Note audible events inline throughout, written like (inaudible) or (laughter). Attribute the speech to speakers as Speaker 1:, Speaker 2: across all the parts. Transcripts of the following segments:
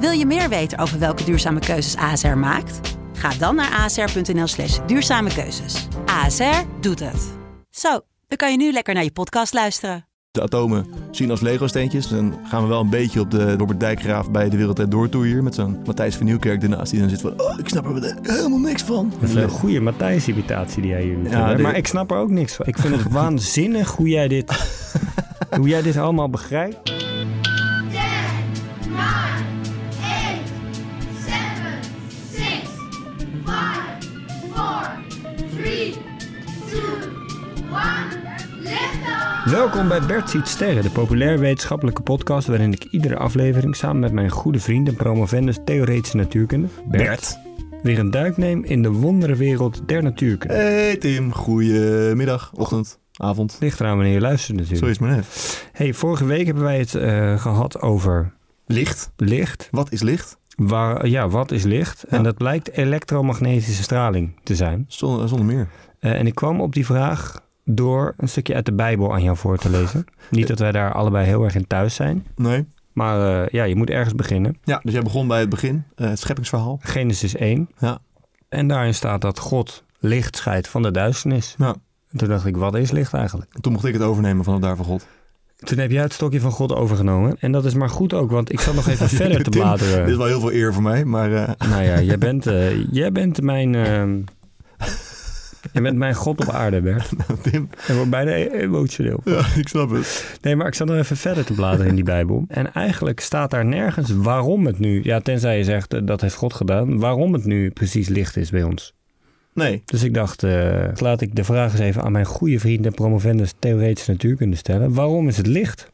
Speaker 1: Wil je meer weten over welke duurzame keuzes ASR maakt? Ga dan naar asr.nl slash duurzame keuzes. ASR doet het. Zo, dan kan je nu lekker naar je podcast luisteren.
Speaker 2: de atomen zien als Lego-steentjes. Dan gaan we wel een beetje op de Robert Dijkgraaf bij de Wereldtijd Doortoer hier. Met zo'n Matthijs van Nieuwkerk ernaast die dan zit van... Oh, ik snap er helemaal niks van.
Speaker 3: Dat is een goede Matthijs-imitatie die jij hier doet.
Speaker 2: Ja,
Speaker 3: hè?
Speaker 2: dit-
Speaker 3: Maar ik snap er ook niks van. Ik vind (laughs) het waanzinnig hoe jij (laughs) dit, hoe jij dit allemaal begrijpt.
Speaker 4: 10, 9, 8, 7, 6, 5, 4, 3, 2, 1. Lift off!
Speaker 3: Welkom bij Bert Ziet Sterren, de populair wetenschappelijke podcast... waarin ik iedere aflevering samen met mijn goede vriend en promovendus theoretische natuurkunde...
Speaker 2: Bert.
Speaker 3: weer een duik neem in de wonderenwereld der natuurkunde.
Speaker 2: Hey Tim, goedemiddag, ochtend, avond.
Speaker 3: Ligt eraan wanneer je luistert
Speaker 2: Zo
Speaker 3: natuurlijk.
Speaker 2: is maar net.
Speaker 3: Hey, vorige week hebben wij het eh, gehad over
Speaker 2: Licht.
Speaker 3: licht.
Speaker 2: Wat is licht?
Speaker 3: Waar, ja, wat is licht?
Speaker 2: Ja.
Speaker 3: En dat blijkt elektromagnetische straling te zijn.
Speaker 2: Zonder, zonder meer.
Speaker 3: Eh, en ik kwam op die vraag door een stukje uit de Bijbel aan jou voor te
Speaker 2: (laughs)
Speaker 3: lezen. Niet dat wij daar allebei heel erg in thuis zijn.
Speaker 2: Nee.
Speaker 3: Maar eh, ja, je moet ergens beginnen.
Speaker 2: Ja, dus jij begon bij het begin, eh, het scheppingsverhaal.
Speaker 3: Genesis 1.
Speaker 2: Ja.
Speaker 3: En daarin staat dat God licht scheidt van de duisternis.
Speaker 2: Nou,
Speaker 3: En toen dacht ik, wat is licht eigenlijk?
Speaker 2: toen mocht ik het overnemen van het daar van God.
Speaker 3: Toen heb jij het stokje van God overgenomen. En dat is maar goed ook, want ik zat nog
Speaker 2: (laughs)
Speaker 3: even verder te
Speaker 2: Tim, Dit is
Speaker 3: bladeren.
Speaker 2: wel heel veel eer voor mij, maar... eh, (laughs)
Speaker 3: Nou ja, jij bent, eh, jij bent mijn... ehm, je bent mijn God op aarde, Bert.
Speaker 2: Tim,
Speaker 3: Ik word bijna emotioneel.
Speaker 2: ja, ik snap het.
Speaker 3: Nee, maar ik zat nog even verder te bladeren in die Bijbel. En eigenlijk staat daar nergens waarom het nu... Ja, tenzij je zegt, eh, dat heeft God gedaan. Waarom het nu precies licht is bij ons.
Speaker 2: Nee.
Speaker 3: Dus ik dacht, eh, laat ik de vraag eens even aan mijn goede vriend en promovendus theoretische natuurkunde stellen. Waarom is het licht?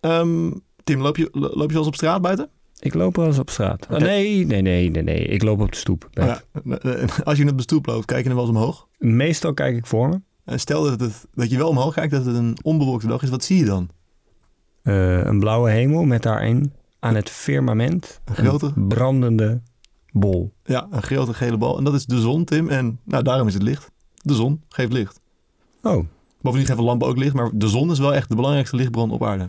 Speaker 2: Ehm, Tim, loop je, lo- loop je wel eens op straat buiten?
Speaker 3: Ik loop wel eens op straat. Oh,
Speaker 2: Oké.
Speaker 3: nee, nee, nee, nee, nee. Ik loop op de stoep. Bert.
Speaker 2: Ja, eh, (laughs) eh, als je op de stoep loopt, kijk je dan wel eens omhoog?
Speaker 3: Meestal kijk ik voor me.
Speaker 2: En stel dat, het, dat je wel omhoog kijkt, dat het een onbewolkte dag is, wat zie je dan?
Speaker 3: Eh, een blauwe hemel met daarin aan het firmament
Speaker 2: Een grote,
Speaker 3: een brandende bol.
Speaker 2: ja, een grote gele bal. En dat is de zon, Tim. En nou, daarom is het licht. De zon geeft licht.
Speaker 3: Oh,
Speaker 2: Bovendien geven lampen ook licht, maar de zon is wel echt de belangrijkste lichtbron op aarde.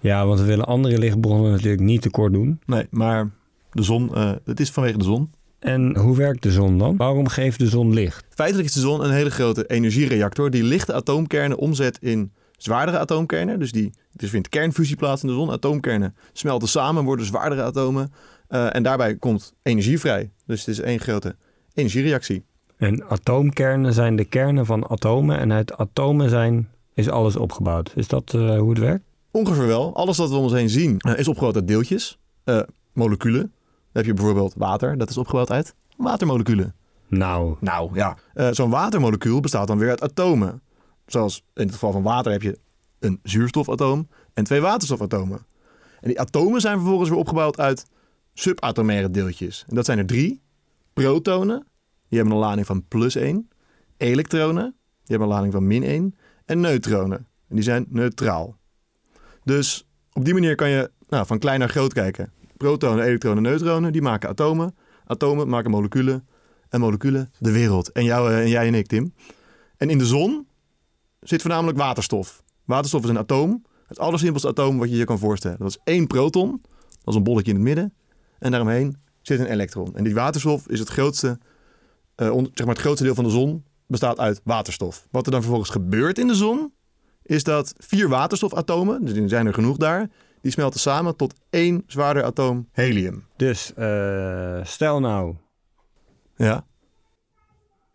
Speaker 3: ja, want we willen andere lichtbronnen natuurlijk niet tekort doen.
Speaker 2: Nee, maar de zon, eh, het is vanwege de zon.
Speaker 3: En hoe werkt de zon dan? Waarom geeft de zon licht?
Speaker 2: Feitelijk is de zon een hele grote energiereactor die lichte atoomkernen omzet in zwaardere atoomkernen. Dus die dus vindt kernfusie plaats in de zon. Atoomkernen smelten samen en worden zwaardere atomen. Eh, en daarbij komt energie vrij. Dus het is één grote energiereactie.
Speaker 3: En atoomkernen zijn de kernen van atomen en uit atomen zijn is alles opgebouwd. Is dat eh, hoe het werkt?
Speaker 2: Ongeveer wel. Alles wat we om ons heen zien eh, is opgebouwd uit deeltjes, eh, moleculen. Dan heb je bijvoorbeeld water, dat is opgebouwd uit watermoleculen.
Speaker 3: Nou,
Speaker 2: Nou ja. Zo'n watermolecuul bestaat dan weer uit atomen. Zoals in het geval van water heb je een zuurstofatoom en twee waterstofatomen. En die atomen zijn vervolgens weer opgebouwd uit subatomaire deeltjes. En dat zijn er drie. Protonen, die hebben een lading van plus 1. Elektronen, die hebben een lading van min 1. En neutronen, en die zijn neutraal. Dus op die manier kan je nou, van klein naar groot kijken. Protonen, elektronen, neutronen, die maken atomen. Atomen maken moleculen. En moleculen de wereld. En, jou, eh, en jij en ik, Tim. En in de zon zit voornamelijk waterstof. Waterstof is een atoom. Het allersimpelste atoom wat je je kan voorstellen. Dat is één proton. Dat is een bolletje in het midden. En daaromheen zit een elektron. En die waterstof is het grootste, eh, on- zeg maar het grootste deel van de zon bestaat uit waterstof. Wat er dan vervolgens gebeurt in de zon, is dat vier waterstofatomen, dus er zijn er genoeg daar, die smelten samen tot één zwaarder atoom helium.
Speaker 3: dus eh, stel nou,
Speaker 2: Ja.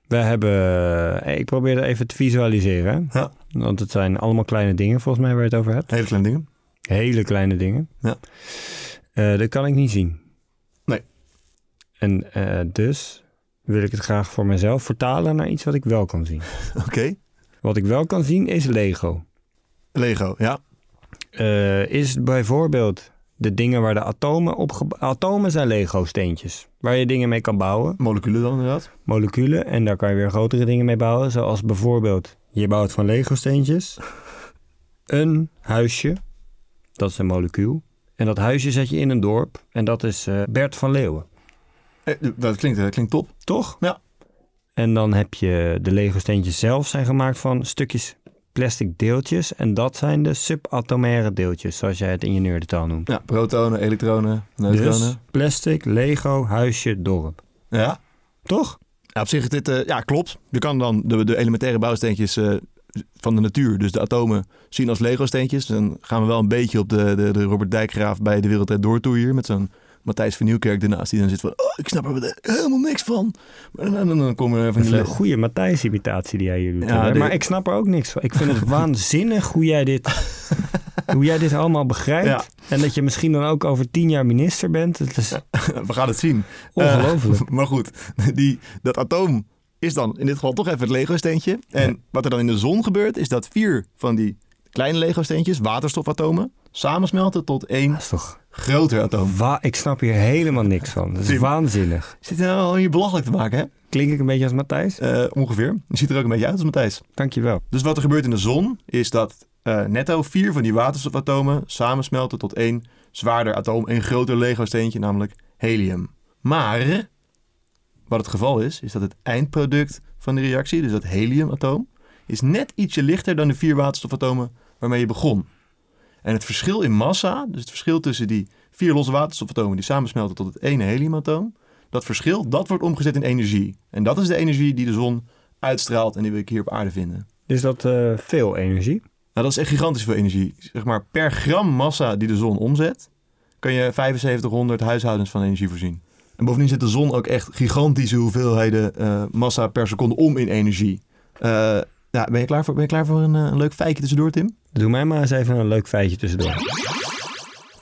Speaker 3: We hebben... eh, Ik probeer even te visualiseren. hè.
Speaker 2: Ja.
Speaker 3: Want het zijn allemaal kleine dingen volgens mij waar je het over hebt.
Speaker 2: Hele kleine dingen. (laughs)
Speaker 3: Hele kleine dingen.
Speaker 2: Ja.
Speaker 3: Eh, dat kan ik niet zien.
Speaker 2: Nee.
Speaker 3: En eh, dus wil ik het graag voor mezelf vertalen naar iets wat ik wel kan zien.
Speaker 2: Oké.
Speaker 3: Wat ik wel kan zien is Lego.
Speaker 2: Lego, ja.
Speaker 3: Eh, is bijvoorbeeld de dingen waar de atomen op... ge- Atomen zijn Lego-steentjes. Waar je dingen mee kan bouwen.
Speaker 2: Moleculen dan inderdaad.
Speaker 3: moleculen. En daar kan je weer grotere dingen mee bouwen. Zoals bijvoorbeeld, je bouwt van Lego-steentjes (laughs) een huisje. Dat is een molecuul. En dat huisje zet je in een dorp. En dat is eh, Bert van Leeuwen.
Speaker 2: Eh, Dat klinkt, dat klinkt top.
Speaker 3: Toch?
Speaker 2: Ja.
Speaker 3: En dan heb je de Lego-steentjes zelf zijn gemaakt van stukjes plastic deeltjes. En dat zijn de subatomaire deeltjes, zoals jij het in je nerdentaal noemt.
Speaker 2: Ja, protonen, elektronen, neutronen.
Speaker 3: Dus plastic, Lego, huisje, dorp.
Speaker 2: Ja.
Speaker 3: Toch?
Speaker 2: Ja, op zich is dit, eh, ja, klopt. Je kan dan de, de elementaire bouwsteentjes eh, van de natuur, dus de atomen, zien als Lego-steentjes. Dan gaan we wel een beetje op de, de, de Robert Dijkgraaf bij de Wereldtijd Doortoe hier, met zo'n Matthijs van Nieuwkerk ernaast, die dan zit van, oh, ik snap er helemaal niks van. Maar dan, dan, dan komen er van
Speaker 3: Dat is
Speaker 2: die
Speaker 3: een
Speaker 2: Lego.
Speaker 3: goede Matthijs-imitatie die jij hier doet.
Speaker 2: Ja,
Speaker 3: hè?
Speaker 2: dit-
Speaker 3: Maar ik snap er ook niks van. Ik vind
Speaker 2: (laughs)
Speaker 3: het waanzinnig hoe jij dit, hoe jij dit allemaal begrijpt.
Speaker 2: Ja.
Speaker 3: En dat je misschien dan ook over tien jaar minister bent. Het is
Speaker 2: (laughs) We gaan het zien.
Speaker 3: ongelooflijk.
Speaker 2: Eh, (laughs) maar goed, die, dat atoom is dan in dit geval toch even het Lego-steentje. En wat er dan in de zon gebeurt, is dat vier van die kleine Lego-steentjes, waterstofatomen, samensmelten tot één
Speaker 3: dat is toch...
Speaker 2: groter atoom.
Speaker 3: Wa ik snap hier helemaal niks van. Dat is
Speaker 2: Tim.
Speaker 3: waanzinnig.
Speaker 2: Zit je nou al hier belachelijk te maken, hè?
Speaker 3: Klink ik een beetje als Matthijs?
Speaker 2: Eh, ongeveer. Je ziet er ook een beetje uit als Matthijs.
Speaker 3: Dankjewel.
Speaker 2: Dus wat er gebeurt in de zon is dat eh, netto vier van die waterstofatomen samensmelten tot één zwaarder atoom, één groter Lego-steentje, namelijk helium. Maar wat het geval is, is dat het eindproduct van de reactie, dus dat heliumatoom, is net ietsje lichter dan de vier waterstofatomen waarmee je begon. En het verschil in massa, dus het verschil tussen die vier losse waterstofatomen die samensmelten tot het ene heliumatoom, dat verschil, dat wordt omgezet in energie. En dat is de energie die de zon uitstraalt en die we hier op aarde vinden.
Speaker 3: Is dat eh, veel energie?
Speaker 2: Nou, dat is echt gigantisch veel energie. Zeg maar, per gram massa die de zon omzet, kan je 7500 huishoudens van energie voorzien. En bovendien zet de zon ook echt gigantische hoeveelheden eh, massa per seconde om in energie. Eh, ja, ben, je klaar voor, ben je klaar voor een, eh, een leuk feitje tussendoor, Tim?
Speaker 3: Doe mij maar eens even een leuk feitje tussendoor.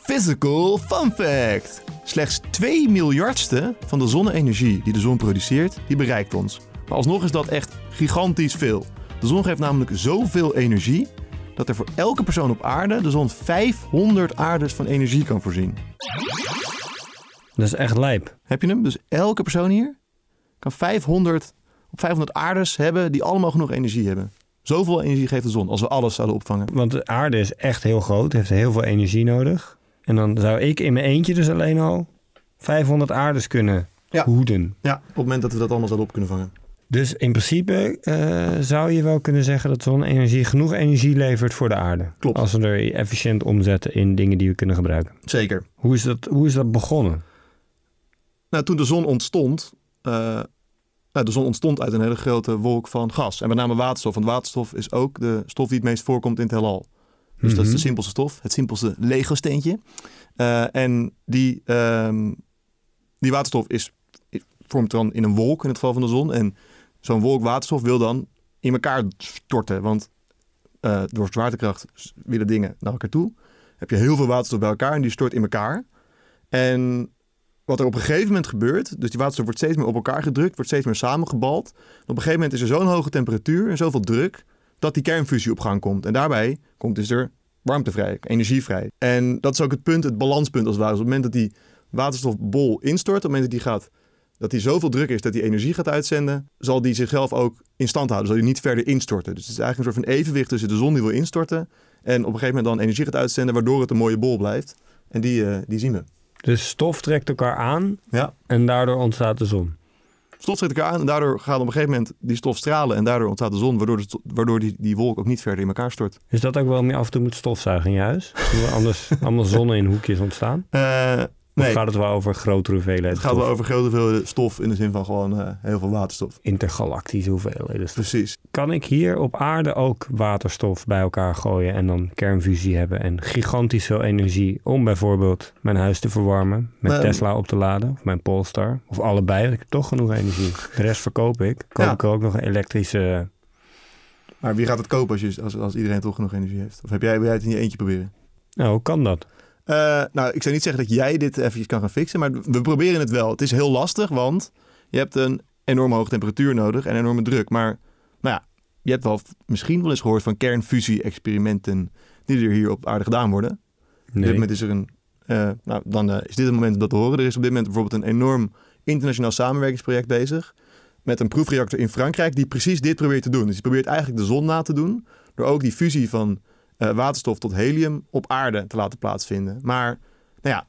Speaker 2: Physical fun fact. Slechts 2 miljardste van de zonne-energie die de zon produceert, die bereikt ons. Maar alsnog is dat echt gigantisch veel. De zon geeft namelijk zoveel energie dat er voor elke persoon op aarde de zon 500 aardes van energie kan voorzien.
Speaker 3: Dat is echt lijp.
Speaker 2: Heb je hem? Dus elke persoon hier kan 500, op 500 aardes hebben die allemaal genoeg energie hebben. Zoveel energie geeft de zon als we alles zouden opvangen.
Speaker 3: Want de aarde is echt heel groot, heeft heel veel energie nodig. En dan zou ik in mijn eentje dus alleen al 500 aardes kunnen
Speaker 2: Ja.
Speaker 3: hoeden.
Speaker 2: Ja, op het moment dat we dat allemaal zouden op kunnen vangen.
Speaker 3: Dus in principe eh, zou je wel kunnen zeggen dat zonne-energie genoeg energie levert voor de aarde.
Speaker 2: Klopt.
Speaker 3: Als we er efficiënt omzetten in dingen die we kunnen gebruiken.
Speaker 2: Zeker.
Speaker 3: Hoe is dat, hoe is dat begonnen?
Speaker 2: Nou, toen de zon ontstond, eh, nou, de zon ontstond uit een hele grote wolk van gas. En met name waterstof. Want waterstof is ook de stof die het meest voorkomt in het heelal. Dus dat is de simpelste stof, het simpelste Lego-steentje. Eh, en die, ehm, die waterstof is, i- vormt dan in een wolk in het geval van de zon. En zo'n wolk waterstof wil dan in elkaar storten. Want eh, door zwaartekracht s- willen dingen naar elkaar toe. Heb je heel veel waterstof bij elkaar en die stort in elkaar. En wat er op een gegeven moment gebeurt, dus die waterstof wordt steeds meer op elkaar gedrukt, wordt steeds meer samengebald. En op een gegeven moment is er zo'n hoge temperatuur en zoveel druk dat die kernfusie op gang komt. En daarbij komt dus er warmte vrij, energie vrij. En dat is ook het punt, het balanspunt als het ware. Dus op het moment dat die waterstofbol instort, op het moment dat die gaat, dat die zoveel druk is dat die energie gaat uitzenden, zal die zichzelf ook in stand houden, zal die niet verder instorten. Dus het is eigenlijk een soort van evenwicht tussen de zon die wil instorten en op een gegeven moment dan energie gaat uitzenden, waardoor het een mooie bol blijft. En die, eh, die zien we.
Speaker 3: Dus stof trekt elkaar aan
Speaker 2: Ja.
Speaker 3: en daardoor ontstaat de zon.
Speaker 2: stof zit elkaar aan en daardoor gaat op een gegeven moment die stof stralen en daardoor ontstaat de zon, waardoor, de sto- waardoor die, die wolk ook niet verder in elkaar stort.
Speaker 3: Is dat ook waarom je af en toe moet stofzuigen in je huis? Omdat
Speaker 2: (laughs)
Speaker 3: anders allemaal zonnen in hoekjes ontstaan?
Speaker 2: Eh,
Speaker 3: Of
Speaker 2: nee,
Speaker 3: gaat het wel over grotere hoeveelheden
Speaker 2: het gaat wel
Speaker 3: stof?
Speaker 2: over grote hoeveelheden stof in de zin van gewoon eh, heel veel waterstof.
Speaker 3: Intergalactische hoeveelheden stof?
Speaker 2: Precies.
Speaker 3: Kan ik hier op aarde ook waterstof bij elkaar gooien en dan kernfusie hebben en gigantisch veel energie om bijvoorbeeld mijn huis te verwarmen, mijn
Speaker 2: Maar-
Speaker 3: Tesla op te laden of mijn Polestar of allebei, want ik heb toch genoeg energie. De rest verkoop ik. Koop
Speaker 2: Ja.
Speaker 3: ik er ook nog een elektrische...
Speaker 2: Maar wie gaat het kopen als, je, als, als iedereen toch genoeg energie heeft? Of heb jij, wil jij het in je eentje proberen?
Speaker 3: Nou, hoe kan dat?
Speaker 2: Eh, nou, ik zou niet zeggen dat jij dit eventjes kan gaan fixen, maar we proberen het wel. Het is heel lastig, want je hebt een enorm hoge temperatuur nodig en enorme druk. Maar, nou ja, je hebt wel v- misschien wel eens gehoord van kernfusie-experimenten die er hier op aarde gedaan worden. Op dit
Speaker 3: Nee.
Speaker 2: moment is er een, eh, nou, dan eh, is dit het moment om dat te horen. Er is op dit moment bijvoorbeeld een enorm internationaal samenwerkingsproject bezig met een proefreactor in Frankrijk die precies dit probeert te doen. Dus die probeert eigenlijk de zon na te doen door ook die fusie van eh, waterstof tot helium op aarde te laten plaatsvinden. Maar, nou ja,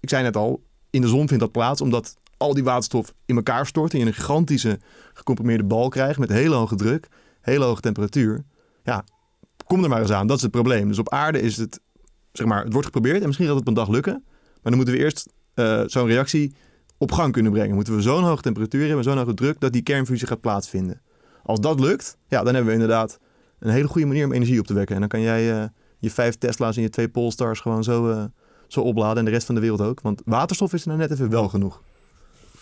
Speaker 2: ik zei net al, in de zon vindt dat plaats omdat al die waterstof in elkaar stort en je een gigantische gecomprimeerde bal krijgt met hele hoge druk, hele hoge temperatuur. Ja, kom er maar eens aan. Dat is het probleem. Dus op aarde is het zeg maar, het wordt geprobeerd en misschien gaat het op een dag lukken. Maar dan moeten we eerst eh, zo'n reactie op gang kunnen brengen. Moeten we zo'n hoge temperatuur hebben, zo'n hoge druk, dat die kernfusie gaat plaatsvinden. Als dat lukt, ja, dan hebben we inderdaad een hele goede manier om energie op te wekken. En dan kan jij eh, je vijf Tesla's en je twee Polestars gewoon zo, eh, zo opladen en de rest van de wereld ook. Want waterstof is er nou net even wel genoeg.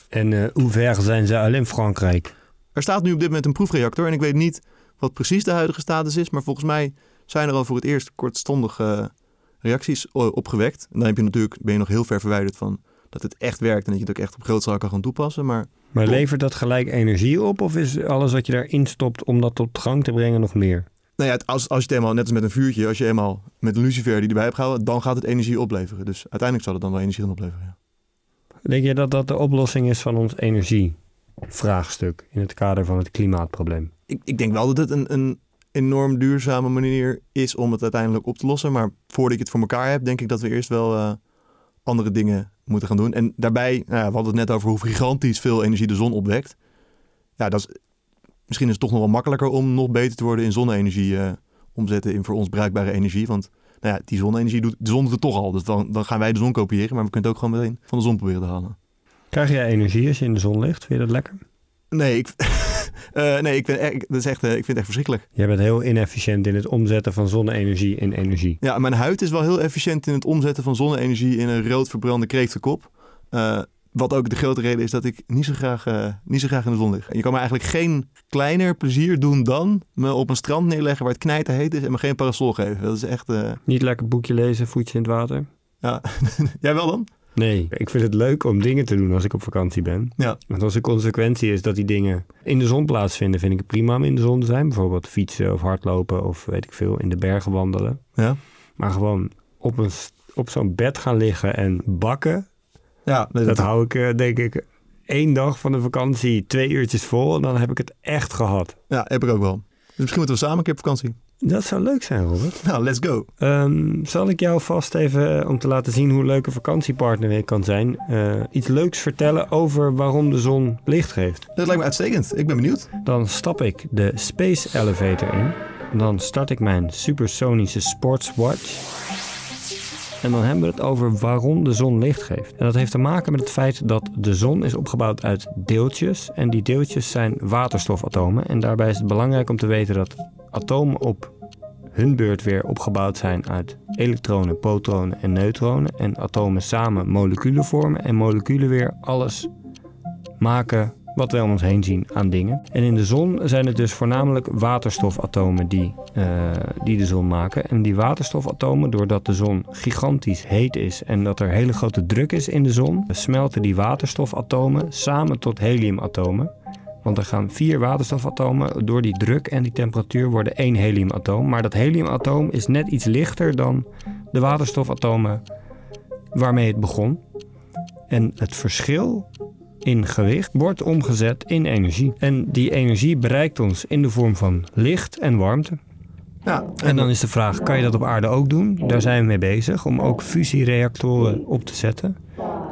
Speaker 3: En eh, hoe ver zijn ze alleen Frankrijk?
Speaker 2: Er staat nu op dit moment een proefreactor en ik weet niet wat precies de huidige status is, maar volgens mij zijn er al voor het eerst kortstondig eh, reacties o- opgewekt. En dan heb je natuurlijk, ben je nog heel ver verwijderd van dat het echt werkt en dat je het ook echt op grootschal kan gaan toepassen. Maar
Speaker 3: Maar
Speaker 2: Klopt.
Speaker 3: levert dat gelijk energie op of is alles wat je daarin stopt om dat tot gang te brengen nog meer?
Speaker 2: nou ja, het- als, als je het eenmaal, net als met een vuurtje, als je eenmaal met een lucifer die erbij hebt gehouden, dan gaat het energie opleveren. Dus uiteindelijk zal het dan wel energie gaan opleveren. Ja.
Speaker 3: Denk je dat dat de oplossing is van ons energievraagstuk in het kader van het klimaatprobleem?
Speaker 2: Ik, ik denk wel dat het een, een enorm duurzame manier is om het uiteindelijk op te lossen. Maar voordat ik het voor elkaar heb, denk ik dat we eerst wel eh, andere dingen moeten gaan doen. En daarbij, nou ja, we hadden het net over hoe gigantisch veel energie de zon opwekt. Ja, dat is, misschien is het toch nog wel makkelijker om nog beter te worden in zonne-energie eh, omzetten in voor ons bruikbare energie. Want nou ja, die zonne-energie doet de zon doet het toch al. Dus dan, dan gaan wij de zon kopiëren, maar we kunnen het ook gewoon meteen van de zon proberen te halen.
Speaker 3: Krijg jij energie als je in de zon ligt? Vind je dat lekker?
Speaker 2: Nee, ik, (laughs) eh, nee, ik, ben, ik, dat is echt, eh, ik vind het echt verschrikkelijk.
Speaker 3: Jij bent heel inefficiënt in het omzetten van zonne-energie in energie.
Speaker 2: Ja, mijn huid is wel heel efficiënt in het omzetten van zonne-energie in een rood verbrande kreeftenkop. Eh, wat ook de grote reden is dat ik niet zo, graag, eh, niet zo graag in de zon lig. En je kan me eigenlijk geen kleiner plezier doen dan me op een strand neerleggen waar het knijterheet is en me geen parasol geven. Dat is echt... eh,
Speaker 3: Niet lekker boekje lezen, voetje in het water?
Speaker 2: ja. (laughs) Jij wel dan?
Speaker 3: Nee. Ik vind het leuk om dingen te doen als ik op vakantie ben.
Speaker 2: Ja.
Speaker 3: Want als de consequentie is dat die dingen in de zon plaatsvinden, vind ik het prima om in de zon te zijn. Bijvoorbeeld fietsen of hardlopen of weet ik veel, in de bergen wandelen.
Speaker 2: Ja,
Speaker 3: Maar gewoon op, een, s- op zo'n bed gaan liggen en bakken,
Speaker 2: ja nee,
Speaker 3: dat
Speaker 2: dat,
Speaker 3: hou ik eh, denk ik één dag van de vakantie twee uurtjes vol en dan heb ik het echt gehad.
Speaker 2: ja, heb ik ook wel. Dus misschien moeten we samen een keer op vakantie.
Speaker 3: Dat zou leuk zijn, Robert.
Speaker 2: Nou, let's go.
Speaker 3: Ehm, zal ik jou vast even, eh, om te laten zien hoe leuk een vakantiepartner ik kan zijn, eh, iets leuks vertellen over waarom de zon licht geeft?
Speaker 2: Dat lijkt me uitstekend. Ik ben benieuwd.
Speaker 3: Dan stap ik de Space Elevator in. En dan start ik mijn supersonische sportswatch. En dan hebben we het over waarom de zon licht geeft. En dat heeft te maken met het feit dat de zon is opgebouwd uit deeltjes. En die deeltjes zijn waterstofatomen. En daarbij is het belangrijk om te weten dat atomen op hun beurt weer opgebouwd zijn uit elektronen, protonen en neutronen. En atomen samen moleculen vormen. En moleculen weer alles maken wat wij om ons heen zien aan dingen. En in de zon zijn het dus voornamelijk waterstofatomen die, eh, die de zon maken. En die waterstofatomen, doordat de zon gigantisch heet is en dat er hele grote druk is in de zon, smelten die waterstofatomen samen tot heliumatomen. Want er gaan vier waterstofatomen door die druk en die temperatuur worden één heliumatoom. Maar dat heliumatoom is net iets lichter dan de waterstofatomen waarmee het begon. En het verschil in gewicht wordt omgezet in energie. En die energie bereikt ons in de vorm van licht en warmte.
Speaker 2: Ja,
Speaker 3: En dan is de vraag, kan je dat op aarde ook doen? Daar zijn we mee bezig, om ook fusiereactoren op te zetten.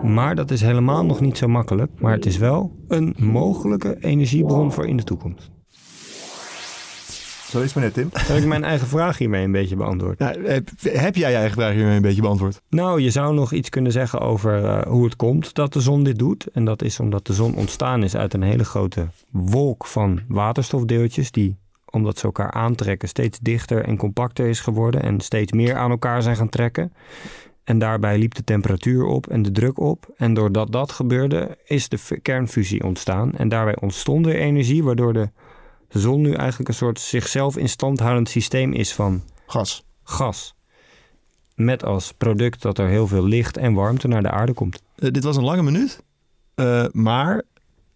Speaker 3: Maar dat is helemaal nog niet zo makkelijk. Maar het is wel een mogelijke energiebron voor in de toekomst.
Speaker 2: zo is het maar net, Tim.
Speaker 3: Heb ik mijn eigen vraag hiermee een beetje beantwoord?
Speaker 2: Nou, heb, heb jij je eigen vraag hiermee een beetje beantwoord?
Speaker 3: Nou, je zou nog iets kunnen zeggen over eh, hoe het komt dat de zon dit doet. En dat is omdat de zon ontstaan is uit een hele grote wolk van waterstofdeeltjes die omdat ze elkaar aantrekken, steeds dichter en compacter is geworden en steeds meer aan elkaar zijn gaan trekken. En daarbij liep de temperatuur op en de druk op. En doordat dat gebeurde, is de f- kernfusie ontstaan. En daarbij ontstond er energie, waardoor de zon nu eigenlijk een soort zichzelf in stand houdend systeem is van
Speaker 2: Gas.
Speaker 3: gas. Met als product dat er heel veel licht en warmte naar de aarde komt.
Speaker 2: Eh, dit was een lange minuut, eh, maar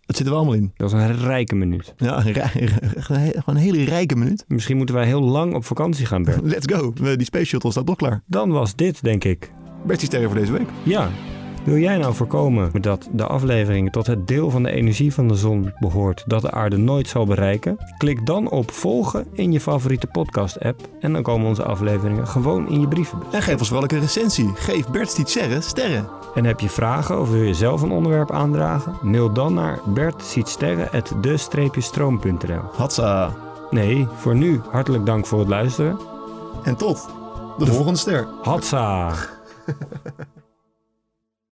Speaker 2: het zit er wel allemaal in.
Speaker 3: Dat is een rijke minuut.
Speaker 2: Ja, een rij- (laughs) echt een he- gewoon een hele rijke minuut.
Speaker 3: Misschien moeten wij heel lang op vakantie gaan, Bert.
Speaker 2: Let's go. Eh, Die space shuttle staat toch klaar.
Speaker 3: Dan was dit, denk ik.
Speaker 2: Bertie's sterren voor deze week.
Speaker 3: Ja. Wil jij nou voorkomen dat de aflevering tot het deel van de energie van de zon behoort dat de aarde nooit zal bereiken? Klik dan op volgen in je favoriete podcast-app en dan komen onze afleveringen gewoon in je brievenbus.
Speaker 2: En geef ons vooral ook een recensie. Geef Bertie's sterren sterren.
Speaker 3: En heb je vragen of wil je zelf een onderwerp aandragen? Mail dan naar bertzietsterren@de-stroom.nl.
Speaker 2: Hatsa.
Speaker 3: Nee, voor nu hartelijk dank voor het luisteren.
Speaker 2: En tot de volgende ster.
Speaker 3: Hatsa!